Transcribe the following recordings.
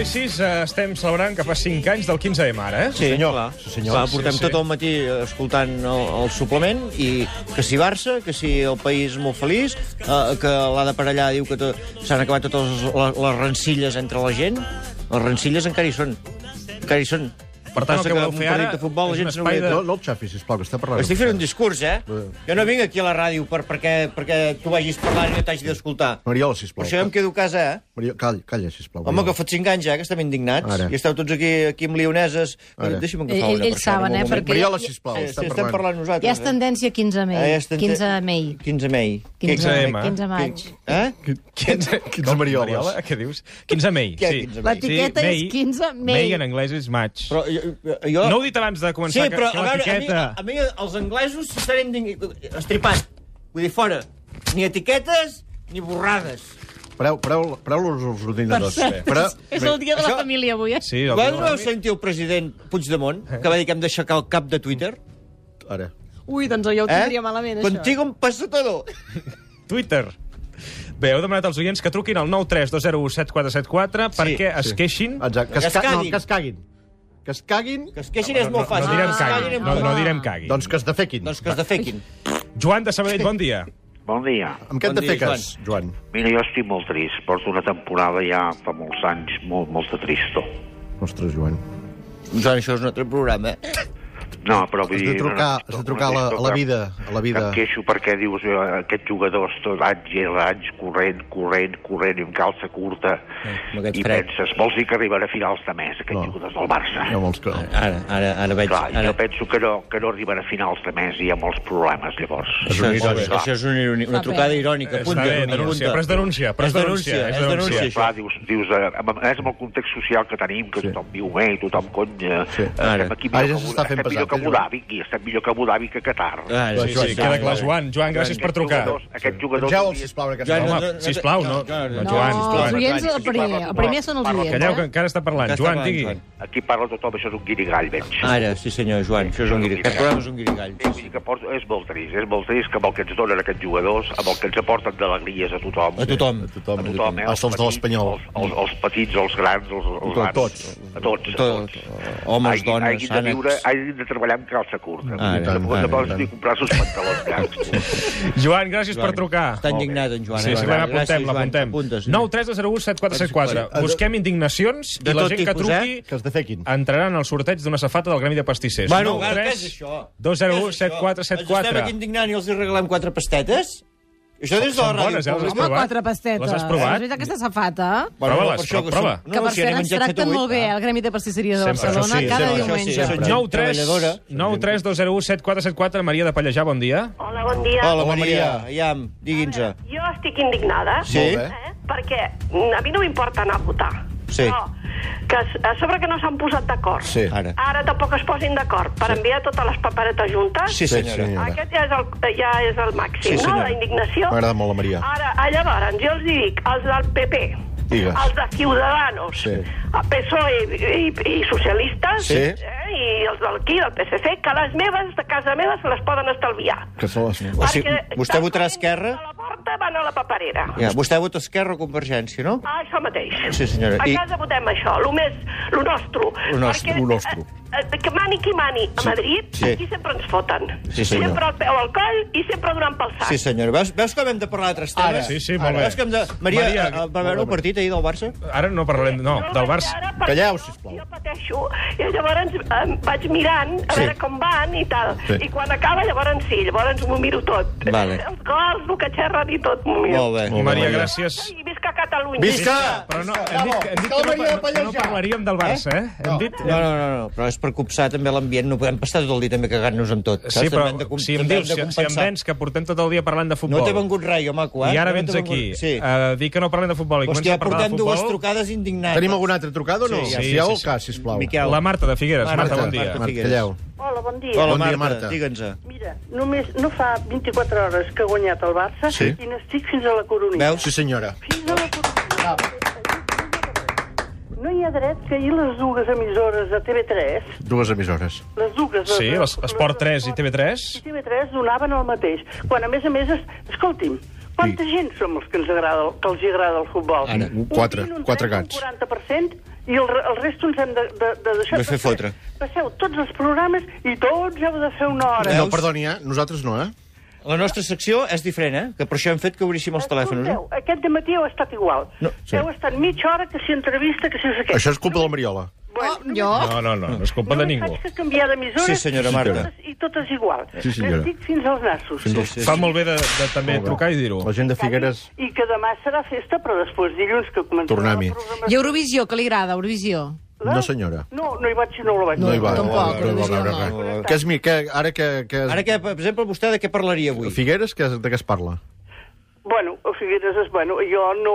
i 6 eh, estem celebrant que fa 5 anys del 15M, ara, eh? Sí, senyor. clar. Sí, senyor. Clar, Sí, portem sí. tot el matí eh, escoltant el, el suplement i que si Barça, que si el país molt feliç, eh, que l'ha de parellar diu que to- s'han acabat totes les, les rencilles entre la gent. Les rencilles encara hi són. Encara hi són. Per tant, el Passa que voleu en un fer partit ara de futbol, la és un gent se espai n'hauria de- No, no el xafis, sisplau, que està parlant. Estic fent un discurs, eh? Jo no vinc aquí a la ràdio per, perquè, perquè tu vagis parlant i jo t'hagi d'escoltar. Mariola, Per sisplau. això jo em quedo a casa, eh? Mario... Calla, calla, sisplau. Home, que Mariola. fot 5 anys ja, que estem indignats. Ara. I esteu tots aquí, aquí amb lioneses. Ara. Deixa'm Ell- agafar ell- una ells persona, saben, un eh, moment. perquè- Mariola, sisplau, Eh, està sí, estem parlant. parlant nosaltres. Ja és tendència 15 Eh, ja mei. és tendència- 15 mei. 15 mei. 15 15M. mei. 15 maig. Eh? 15, Quins marioles? Què dius? 15 May, Què, sí. 15 May? L'etiqueta és May. 15 May. May en anglès és maig. Però jo... jo... No ho he dit abans de sí, començar però que, a que veure, a mi, l'etiqueta... a mi els anglesos s'estan indign- estripant. Vull dir, fora. Ni etiquetes ni borrades. Pareu, pareu, pareu els, els ordinadors. Pareu... És el dia de la Això- família avui, eh? Sí, el Quan dia de la vau sentir el president Puigdemont, que va dir que hem d'aixecar el cap de Twitter? Ara. Ui, doncs jo ho tindria malament, això. Eh? Contigo un pesatador. Twitter. Bé, heu demanat als oients que truquin al 932017474 sí, perquè es sí. queixin... Ah, Exacte. Que es, ca... no, caguin. que es caguin. Que es caguin, Que es queixin és molt fàcil. No, direm que cagui. es callin No, és no molt- direm cagui. doncs que es defequin. Doncs que es defequin. Joan de Sabadell, bon dia. Bon dia. Amb què et Bon dia, defeques, Joan? Mira, jo estic molt trist. Porto una temporada ja fa molts anys molt, molt de tristor. Ostres, Joan. Joan, Doncs això és un altre programa. eh? No, però vull Has de dir... trucar- has de trucar a la- a la vida, a la vida. Que em queixo perquè dius eh, aquests jugadors tot anys i anys corrent, corrent, corrent i amb calça curta. Eh, amb aquest I fred. penses, vols dir que arribarà a finals de mes aquests No. jugadors del Barça? Ja vols que... Ara, ara, ara veig... Clar, ara... jo penso que no, que no arribarà a finals de mes i hi ha molts problemes, llavors. Això és, irònic. això és una, ironi- una Fa trucada pena. irònica. Està Punta, bé, irònica, denúncia, punta. però és denúncia, però és denúncia, és És denúncia. denúncia, és denúncia Clar, dius, dius, eh, a més amb el context social que tenim, que sí. tothom viu bé, tothom, cony, eh, Sí. Ara. estem aquí Ara ja millor, s'està que, fent estem millor pesat, eh, que Abu Dhabi, aquí, estem millor que Abu Dhabi que Qatar. Ah, Clar, Sí, Joan, sí, queda clar, clar, clar. Joan. Joan, gràcies per trucar. Jugadors, aquests jugadors... Pengeu-ho, un dia- sisplau, que Joan, no, Home, no, no, sisplau, no. no, no, no, no, No, Joan, els Joan. oients, el primer, el primer són els Parla, oients. Calleu, que eh? encara està parlant. Encara està Joan, parlant, digui. Joan. Aquí parla tothom, això és un guirigall, veig. Ara, sí senyor, Joan, això és un guirigall. Aquest programa és un guirigall. Eh, vull dir que porto, és molt trist, és molt trist que amb el que ens donen aquests jugadors, amb el que ens aporten d'alegries a tothom... A tothom. A tothom, a tothom, eh? Hasta els de petits, l'Espanyol. Els, els, els petits, els grans, els, els Clar, grans. tots. A tots, a Tot, tots. homes, Hagin- dones, hagin de viure, ànecs... hagin de treballar amb calça curta. Ah, Ah, i no, tant, no, ah, no, i pots tant. ni comprar els pantalons llargs. Joan, gràcies per Joan, trucar. Està indignat, en Joan. Sí, sí, Gràcies, l'apuntem, Joan. l'apuntem. Apunta, sí. 9 3 0 1 7 4 7 4. Busquem indignacions De i la tot gent que tipus, eh? truqui Que es defequin. entrarà en el sorteig d'una safata del Gremi de Pastissers. Bueno, 9 Gar, què 3 és això? 2 0 1 Què és 7 4 això? 7 Ens estem 4. aquí indignant i els hi regalem quatre pastetes? Això des de la Són ràdio. bones, eh, les has Home, provat? quatre pastetes. Les has provat? És veritat que aquesta safata, Prova-les, prova. que per cert ens tracten molt bé, Ah. eh? el Gremi de Pastisseria de Sempre, Barcelona, això sí, cada sempre. diumenge. Això sí, 9 3 Treballadora. 9 3 2 0 1 7 4 7 4. Maria de Pallejar, bon dia. Hola, bon dia. Hola, Hola, Maria. Maria. Iam, digui'ns. Jo estic indignada. Sí. Molt bé. Eh? Perquè mm, a mi no m'importa anar a votar. Sí. Però que s- a sobre que no s'han posat d'acord. Sí. Ara. Ara tampoc es posin d'acord per enviar totes les paperetes juntes. Sí, senyora. Sí, senyora. Aquest ja és el, ja és el màxim, Sí, no? senyora. La indignació. M'agrada molt la Maria. Ara, a llavors, jo els dic, els del PP, Digues. els de Ciudadanos, Sí. el PSOE E i, i socialistes, Sí. eh, i els d'aquí, del PSC, que les meves, de casa meva, se les poden estalviar. Que se les... O sigui, Perquè vostè votarà quan Esquerra? entren A la porta van a la paperera. Ja, vostè vota Esquerra o Convergència, no? Ah, això mateix. Sí, senyora. A I- casa votem això, lo més, lo nostre. Lo nostre, Perquè, lo nostre. eh, eh, que mani qui mani a Madrid, Sí. aquí sempre ens foten. Sí, senyor. Sempre al peu al coll i sempre donant pel sac. Sí, senyora. Veus, veus com hem de parlar d'altres temes? Ara, sí, sí, molt Ara. bé. Veus que hem de... Maria, Maria, Maria eh, va veure el partit ahir del Barça? Ara no parlem... No, Jo el del vaig Barça. veure perquè Calleu, jo- sisplau. Jo pateixo, i llavors eh, vaig mirant a Sí. veure com van i tal. Sí. I quan acaba, llavors sí, llavors m'ho miro tot. Vale. Els gols, el que xerren i tot m'ho miro. Molt bé. Molt bé, Maria, Maria. gràcies. I visca Catalunya. Visca! Però no, hem dit, hem dit que no, Maria de par- no, no Pallejar. parlaríem del Barça, eh? Hem dit... No, no, no, no, però és per copsar també l'ambient. No podem passar tot el dia també cagant-nos amb tot. Sí, saps? També hem de però com- si em també hem dius, de si, si em compensar. vens que portem tot el dia parlant de futbol... No t'he vengut res, jo, maco, eh? I ara No t'he vens vengut- aquí Sí. a dir que no parlem de futbol i comença Hòstia, a parlar portem de dues futbol... trucades indignades. Tenim alguna altra trucada o no? Sí, Sí, sí, si hi ha sí, el sí. cas, sisplau. Miquel. La Marta de Figueres. Marta, Marta, bon dia. Marta. Marta, Figueres. calleu. Hola, bon dia. Hola, Bon dia, Marta, Marta. digue'ns. Mira, només no fa 24 hores que ha guanyat el Barça Sí. i n'estic fins a la coronilla. Veus? Sí, senyora. Fins a la coronilla. No hi ha dret que ahir les dues emissores de TV3, Dues emissores. les dues... Sí, les- Esport 3 i TV3. I TV3 donaven el mateix. Quan, a més a més, es... escolti'm, quanta gent som els que ens agrada, el- que els hi agrada el futbol? Ara, un quatre, 20, un quatre 30, gats. Un 40% i el, re- el resto ens hem de... de, de deixar. De fer fotre. Passeu tots els programes i tots heu de fer una hora. No, Veus? perdoni, eh? Nosaltres no, eh? La nostra secció és diferent, eh? Que per això hem fet que obríssim els telèfons. Escolteu, aquest matí heu estat igual. No, sí. Heu estat mitja hora que si entrevista, que si no sé què. Això és culpa del Mariola. Bueno, Oh, jo? No, no, no, no és culpa de només ningú. faig que canviar d'emissores Sí, senyora i Marta. totes- I totes igual. Sí, senyora. Estic fins als nassos. eh? Fins als- Fa molt bé de, de també Molt bé. Eh, trucar i dir-ho. La gent de Figueres... I que demà serà festa, però després dilluns que començarà Tornar-m'hi. la programació... I Eurovisió, que li agrada, Eurovisió? La- No, senyora. No, no hi vaig, no la vaig. No hi va, no, tampoc, va, no, va Eurovisió, veure no. res. Què és mi? Què, ara que... que Ara, que, per exemple, vostè de què parlaria avui? Figueres, que, de què es parla? Bueno, o Figueres és... Bueno, jo no...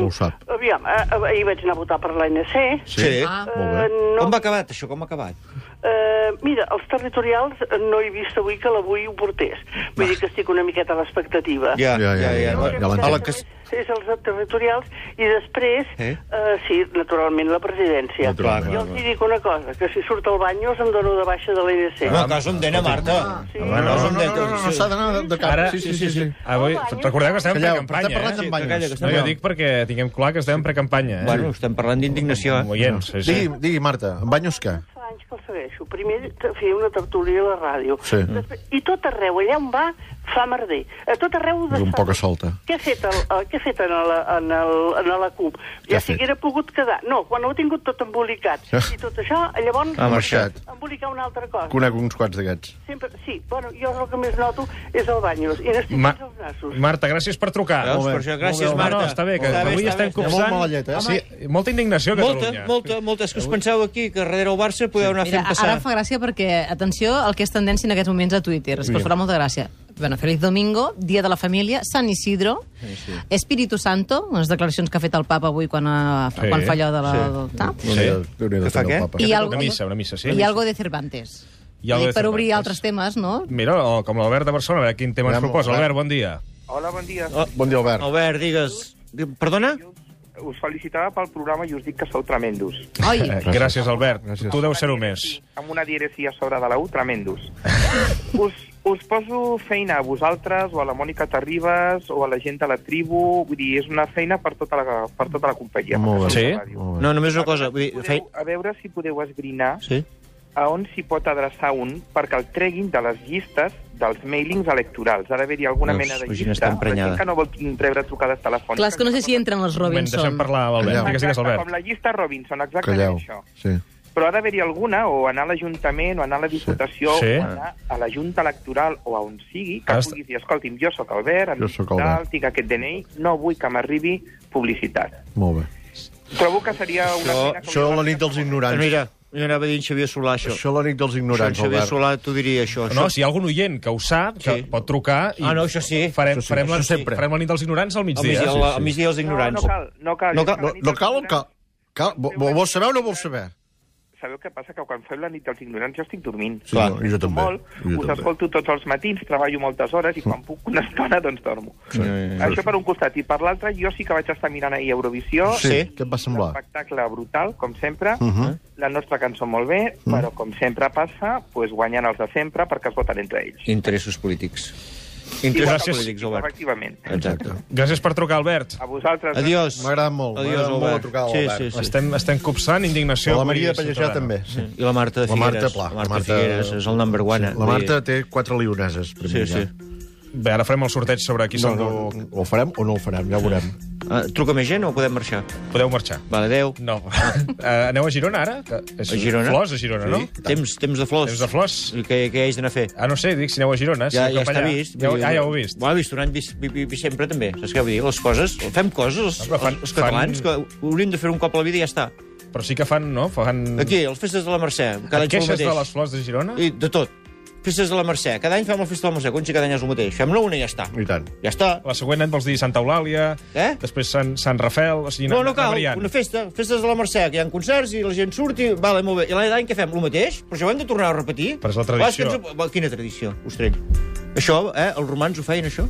No ho sap. Aviam, a- a- ahir vaig anar a votar per l'ANC. Sí. Ah. Molt bé. no. Com va acabat, això? Com ha acabat? Eh, mira, els territorials eh, no he vist avui que l'avui ho portés. Vull dir que estic una miqueta a l'expectativa. Ja, Ja, ja, ja, ja. ja, ja, ja l'entenc. A la que... s- És els territorials i després, eh? Eh? Eh, sí, naturalment, la presidència. Naturalment. Jo els hi dic una cosa, que si surt al banyos em dono de baixa de l'EDC. Ah. No, que som d'ena, Marta. Ah, Sí. No, Ah, no, no, no, no, no, no s'ha de... d'anar de, de cap. Ara, Sí, sí, sí. sí. Avui, recordeu que estem en Calleu, precampanya, estem eh? parlant amb Sí, que calla, que estem banyos. No, jo parlant. dic perquè tinguem clar que estem en precampanya, eh? Bueno, estem parlant d'indignació, eh? Oients, sí, sí. Digui, digui, Marta, en banyos què? Fa anys que el segueixo. Primer te- feia una tertúlia a la ràdio. Sí. Després, I tot arreu, allà on va, fa merder. A tot arreu... És un desfà- poc assolta. Què ha fet, el, el, què ha fet en, la, en, el, en la CUP? Què ha Ja fet? s'haguera pogut quedar. No, quan ho ha tingut tot embolicat. Ah. I tot això, llavors... Ha marxat. Embolicar una altra cosa. Conec uns quants d'aquests. Sempre, sí, bueno, jo el que més noto és el banyos. I n'estic Ma fins als nassos. Marta, gràcies per trucar. Veus? Per això, gràcies, No, Marta. No, està bé, que Està bé, avui està estem bé. copsant... Hi ha molt mala llet, eh? Sí, molta indignació a Molta, Catalunya. molta, molta. És que us penseu aquí que darrere el Barça podeu anar Mira, fent passar... ara em fa gràcia perquè, atenció, el que és tendència en aquests moments a Twitter, és que us farà molta gràcia. Bueno, Feliz Domingo, Dia de la Família, San Isidro, sí. Espíritu Santo, unes declaracions que ha fet el papa avui quan, ha, Sí. quan fa allò de la... Sí. Del, Sí. Què fa, què? I Una algo- missa, una missa, sí. I algo de Cervantes. I algo Dic, de per obrir Cervantes. altres temes, no? Mira, o, com l'Albert de Barcelona, a veure quin tema ens Veiem, proposa. Albert. Albert, bon dia. Hola, bon dia. Oh, Bon dia, Albert. Albert, digues... Di- Perdona? Us felicitava pel programa i us dic que sou tremendos. Oi, Eh, Gràcies, Albert. Gràcies. Tu deus ser-ho més. Amb una direcció a sobre de la U, tremendos. us, us poso feina a vosaltres, o a la Mònica Terribas, o a la gent de la tribu. Vull dir, és una feina per tota la, per tota la companyia. Molt bé. Per Sí? tota la ràdio. Molt bé. No, només una cosa. Vull dir, fei... Podeu, a veure si podeu esbrinar Sí? a on s'hi pot adreçar un perquè el treguin de les llistes dels mailings electorals. Ha d'haver-hi alguna Veus, mena de la gent llista està emprenyada. de gent que no vol rebre trucades telefòniques. clar, és que no sé si entren els Un moment, Robinson. deixem parlar a l'Albert. Calleu. Digues, digues, Exacte, Albert. com la llista Robinson, exactament Calleu. això. Sí. Però ha d'haver-hi alguna, o anar a l'Ajuntament, o anar a la Diputació, Sí. o anar a la Junta Electoral, o a on sigui, que Has- puguis dir, escolti'm, jo sóc Albert, em Jo dic sóc tal, Albert." tinc aquest DNI, no vull que m'arribi publicitat. Molt bé. Trobo que seria una... Això- feina que Això hauria és la de nit dels fer Doncs ignorants. mira, jo anava dient Xavier Solà, això. Això és la nit dels Això en ignorants, Xavier Albert. Solà t'ho diria, això. No, això... si hi ha algun oient que ho sap, que Sí. pot trucar... I Ah, no, això sí. Farem, Això sí, farem, la, això sempre. farem la nit dels ignorants al Al migdia, migdia. eh? sí, sí, sí. sí. al migdia els No, ignorants. no cal, no cal. No cal- És que la No, nit no dels cal o ignorants- cal? cal. Vo- vo- Vols saber o no vols saber? Sabeu què passa? Que quan feu la nit dels ignorants jo estic dormint. Sí, Clar. no, jo Estic també, Molt, jo us també. escolto tots els matins, treballo moltes hores i quan puc una estona doncs dormo. Sí. Això per un costat. I per l'altre, jo sí que vaig estar mirant ahir Eurovisió. Sí. Què et va Un semblar? espectacle brutal, com sempre. Uh Mhm. -huh. La nostra cançó molt bé, però com sempre passa, doncs guanyen els de sempre perquè es voten entre ells. Interessos polítics. Igual Interessos que polítics, Albert. Efectivament. Exacte. Gràcies per trucar, Albert. A vosaltres... Adiós. M'ha agradat molt. Adiós, M'ha agradat molt Albert. la trucada, sí, Albert. sí, sí. Estem, estem copsant indignació. O la avui Maria de Pallejà ciutadana. també. Sí. I la Marta de La Figueres. Marta, pla. La Marta, Figueres és el number one. eh? Sí, la Marta té quatre lioneses. Vull primer, dir- Sí, ja. sí. Bé, ara farem el sorteig sobre qui No, se'l... no, ho farem o no ho farem, ja ho veurem. Ah, truca més gent o podem marxar? Podeu marxar. Vale, adéu. No. Uh, aneu a Girona, ara? Que és A Girona? Flors, a Girona, Sí. no? Temps, temps de flors. Temps de flors. I Què, què haig d'anar a fer? Ah, no sé, dic si aneu a Girona. Ja, si ja aneu cap està allà. vist. Ja, vull dir- ah, ja ho heu vist. Ho ha vist un any vist, vist, vist sempre, també. Saps què vull dir? Les coses, fem coses, Home, els, fan- els catalans, fan- que hauríem de fer un cop a la vida i ja està. Però sí que fan, no? Fan... Aquí, a les festes de la Mercè, Et cada any fa el queixes de mateix. les flors de Girona? I de tot. Festes de la Mercè. Cada any fem la festa de la Mercè. Conxi, cada any és el mateix. Fem-ne una i ja està. I tant. Ja està. La següent any vols dir Santa Eulàlia, Eh? després Sant, Sant Rafael... O sigui, No, anar- no anar cal. variant. Una festa. Festes de la Mercè, que hi ha concerts i la gent surt i... Vale, molt bé. I l'any d'any què fem? Lo mateix? Però això ho hem de tornar a repetir? Però és la Va, que tradició. ens... ho- Va, Quina tradició, ostrell? Això, eh? Els romans ho feien, això?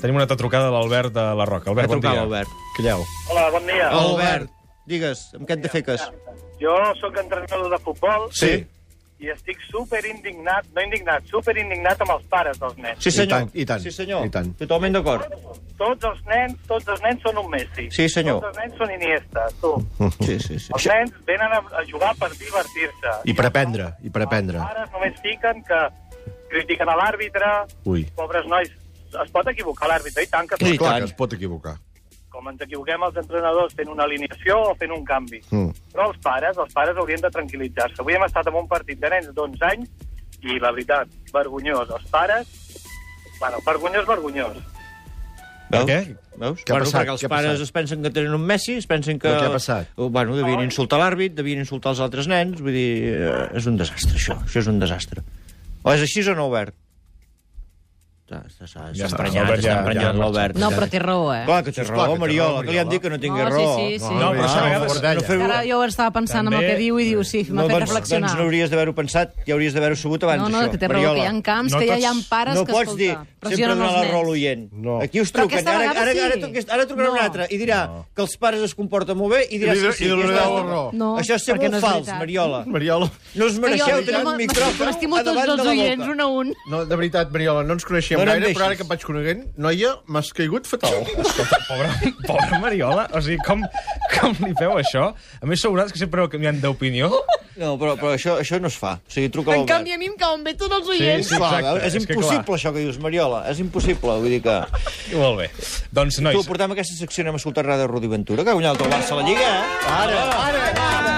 Tenim una altra trucada de l'Albert de la Roca. Albert, Va bon trucar dia. l'Albert. Calleu. Hola, bon dia. Ah, Albert, digues, amb què et defeques? Jo sóc entrenador de futbol Sí. i estic super indignat, no indignat, super indignat amb els pares dels nens. Sí, senyor. I tant, i tant, Sí, senyor. i tant. Totalment d'acord. Tots els nens, tots els nens són un Messi. Sí, senyor. Tots els nens són Iniesta, tu. Sí, sí, sí. Els nens venen a, a jugar per divertir-se. I per aprendre, i per aprendre. Els pares només fiquen que critiquen a l'àrbitre. Ui. Pobres nois, es pot equivocar l'àrbitre, i tant que es Però I pot. clar tant. que es pot equivocar. Com ens equivoquem els entrenadors fent una alineació o fent un canvi. Mm. Però els pares, els pares haurien de tranquil·litzar-se. Avui hem estat en un partit de nens d'11 anys i, la veritat, vergonyós. Els pares... Bueno, vergonyós, vergonyós. Per què? Veus? Què ha bueno, passat? Perquè els Què ha pares passat? es pensen que tenen un Messi, es pensen que... Però què ha passat? Oh, Bueno, devien insultar l'àrbit, devien insultar els altres nens, vull dir... eh, És un desastre, això. Això és un desastre. O és així o no, Albert? S'ha s'ha- s'ha Ja està, emprenyat, l'Albert està ja- emprenyat ja marxa. l'Albert. No, però té raó, eh? Clar que té Sisplau, raó, que té raó, Mariola, que li han Mariola. dit que no tingui No, sí, raó. sí, sí. No, però això a vegades no no feu- feu... Ara jo ho estava pensant També... amb el També- que diu i diu, sí, m'ha No, fet doncs, reflexionar. doncs no hauries d'haver-ho pensat, ja hauries d'haver-ho sabut abans, no, no, això. que té raó, que hi ha camps, no que ja hi ha tots- pares no que, pots dir, escolta, sempre pressionen donar els la nens. raó a l'oient. No. Aquí us Però truquen, aquesta ara, ara, vegada ara, sí. truques- ara trucarà No. un altre i dirà que els pares es comporten molt bé i diràs I li- que sí. i li que és donarà fals. la raó. No, Això és ser perquè molt no és fals, veritat. Mariola. Mariola. No us Que mereixeu tenir m'estimo- un micròfon M'estimo a davant tots de els la oients, boca. un a un. No, de veritat, Mariola, no ens coneixíem No, no em gaire, però ara deixis. que et vaig coneguent, noia, m'has caigut fatal. Escolta, pobra, pobra Mariola, o sigui, com, com li feu això? A més, sou vosaltres que sempre canviant d'opinió. Oh, No, però, però això, això no es fa. O sigui, truca En l'Albert. canvi, a mi em cauen bé tots els oients. oients. Sí, Clar, exacte, Eh, veus? és és que clar. impossible això que dius, Mariola. És impossible, vull dir que... Molt bé. Doncs, Tu, nois, portem aquesta secció, anem a escoltar res de Rudi Ventura, que ha guanyat el Barça a la Lliga, eh? Ara, ara, ara.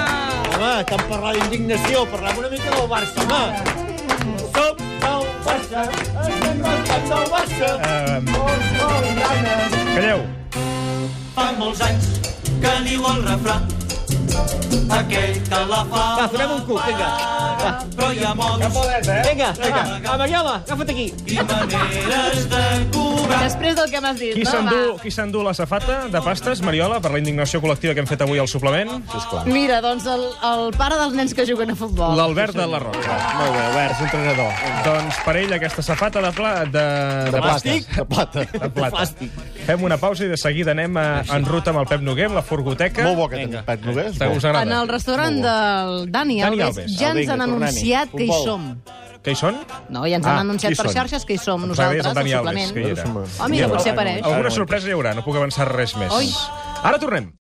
Home, tant parlar d'indignació, parlem una mica del Barça, home. Som del Barça, estem al camp del Barça. Eh, Molts, molts ganes. calleu. Fa molts anys que diu el refrà aquell que la fa, Va, fotem un cuc, vinga. Va, però hi ha modes vinga, vinga. Va, Mariola, agafa't aquí. i maneres de cobrar. Després del que m'has dit, Qui no? s'endú Va. qui s'endú la safata de pastes, Mariola, per la indignació col·lectiva que hem fet avui al suplement? Mira, doncs el, el pare dels nens que juguen a futbol. L'Albert de la Roca. Molt bé, Albert, és entrenador. Doncs per ell aquesta safata de pla... de, De plàstic? De plata. De plata. plàstic. Fem una pausa i de seguida anem a, en ruta amb el Pep Noguer, amb la forgoteca. Molt bo que tenim, Pet Nogués. Te- Us En agrada? el restaurant del Dani Dani Alves, Alves. ja Ah, ens vinga, han tornem-hi. anunciat que hi Futbol. som. Que hi són? No, ja ens Ah, han anunciat qui per són? xarxes que hi som Pensava que nosaltres, és el al Dani Alves, suplement. que hi era. Oh, mira, potser apareix. Alguna sorpresa hi haurà, no puc avançar res més. Oi. Ara tornem.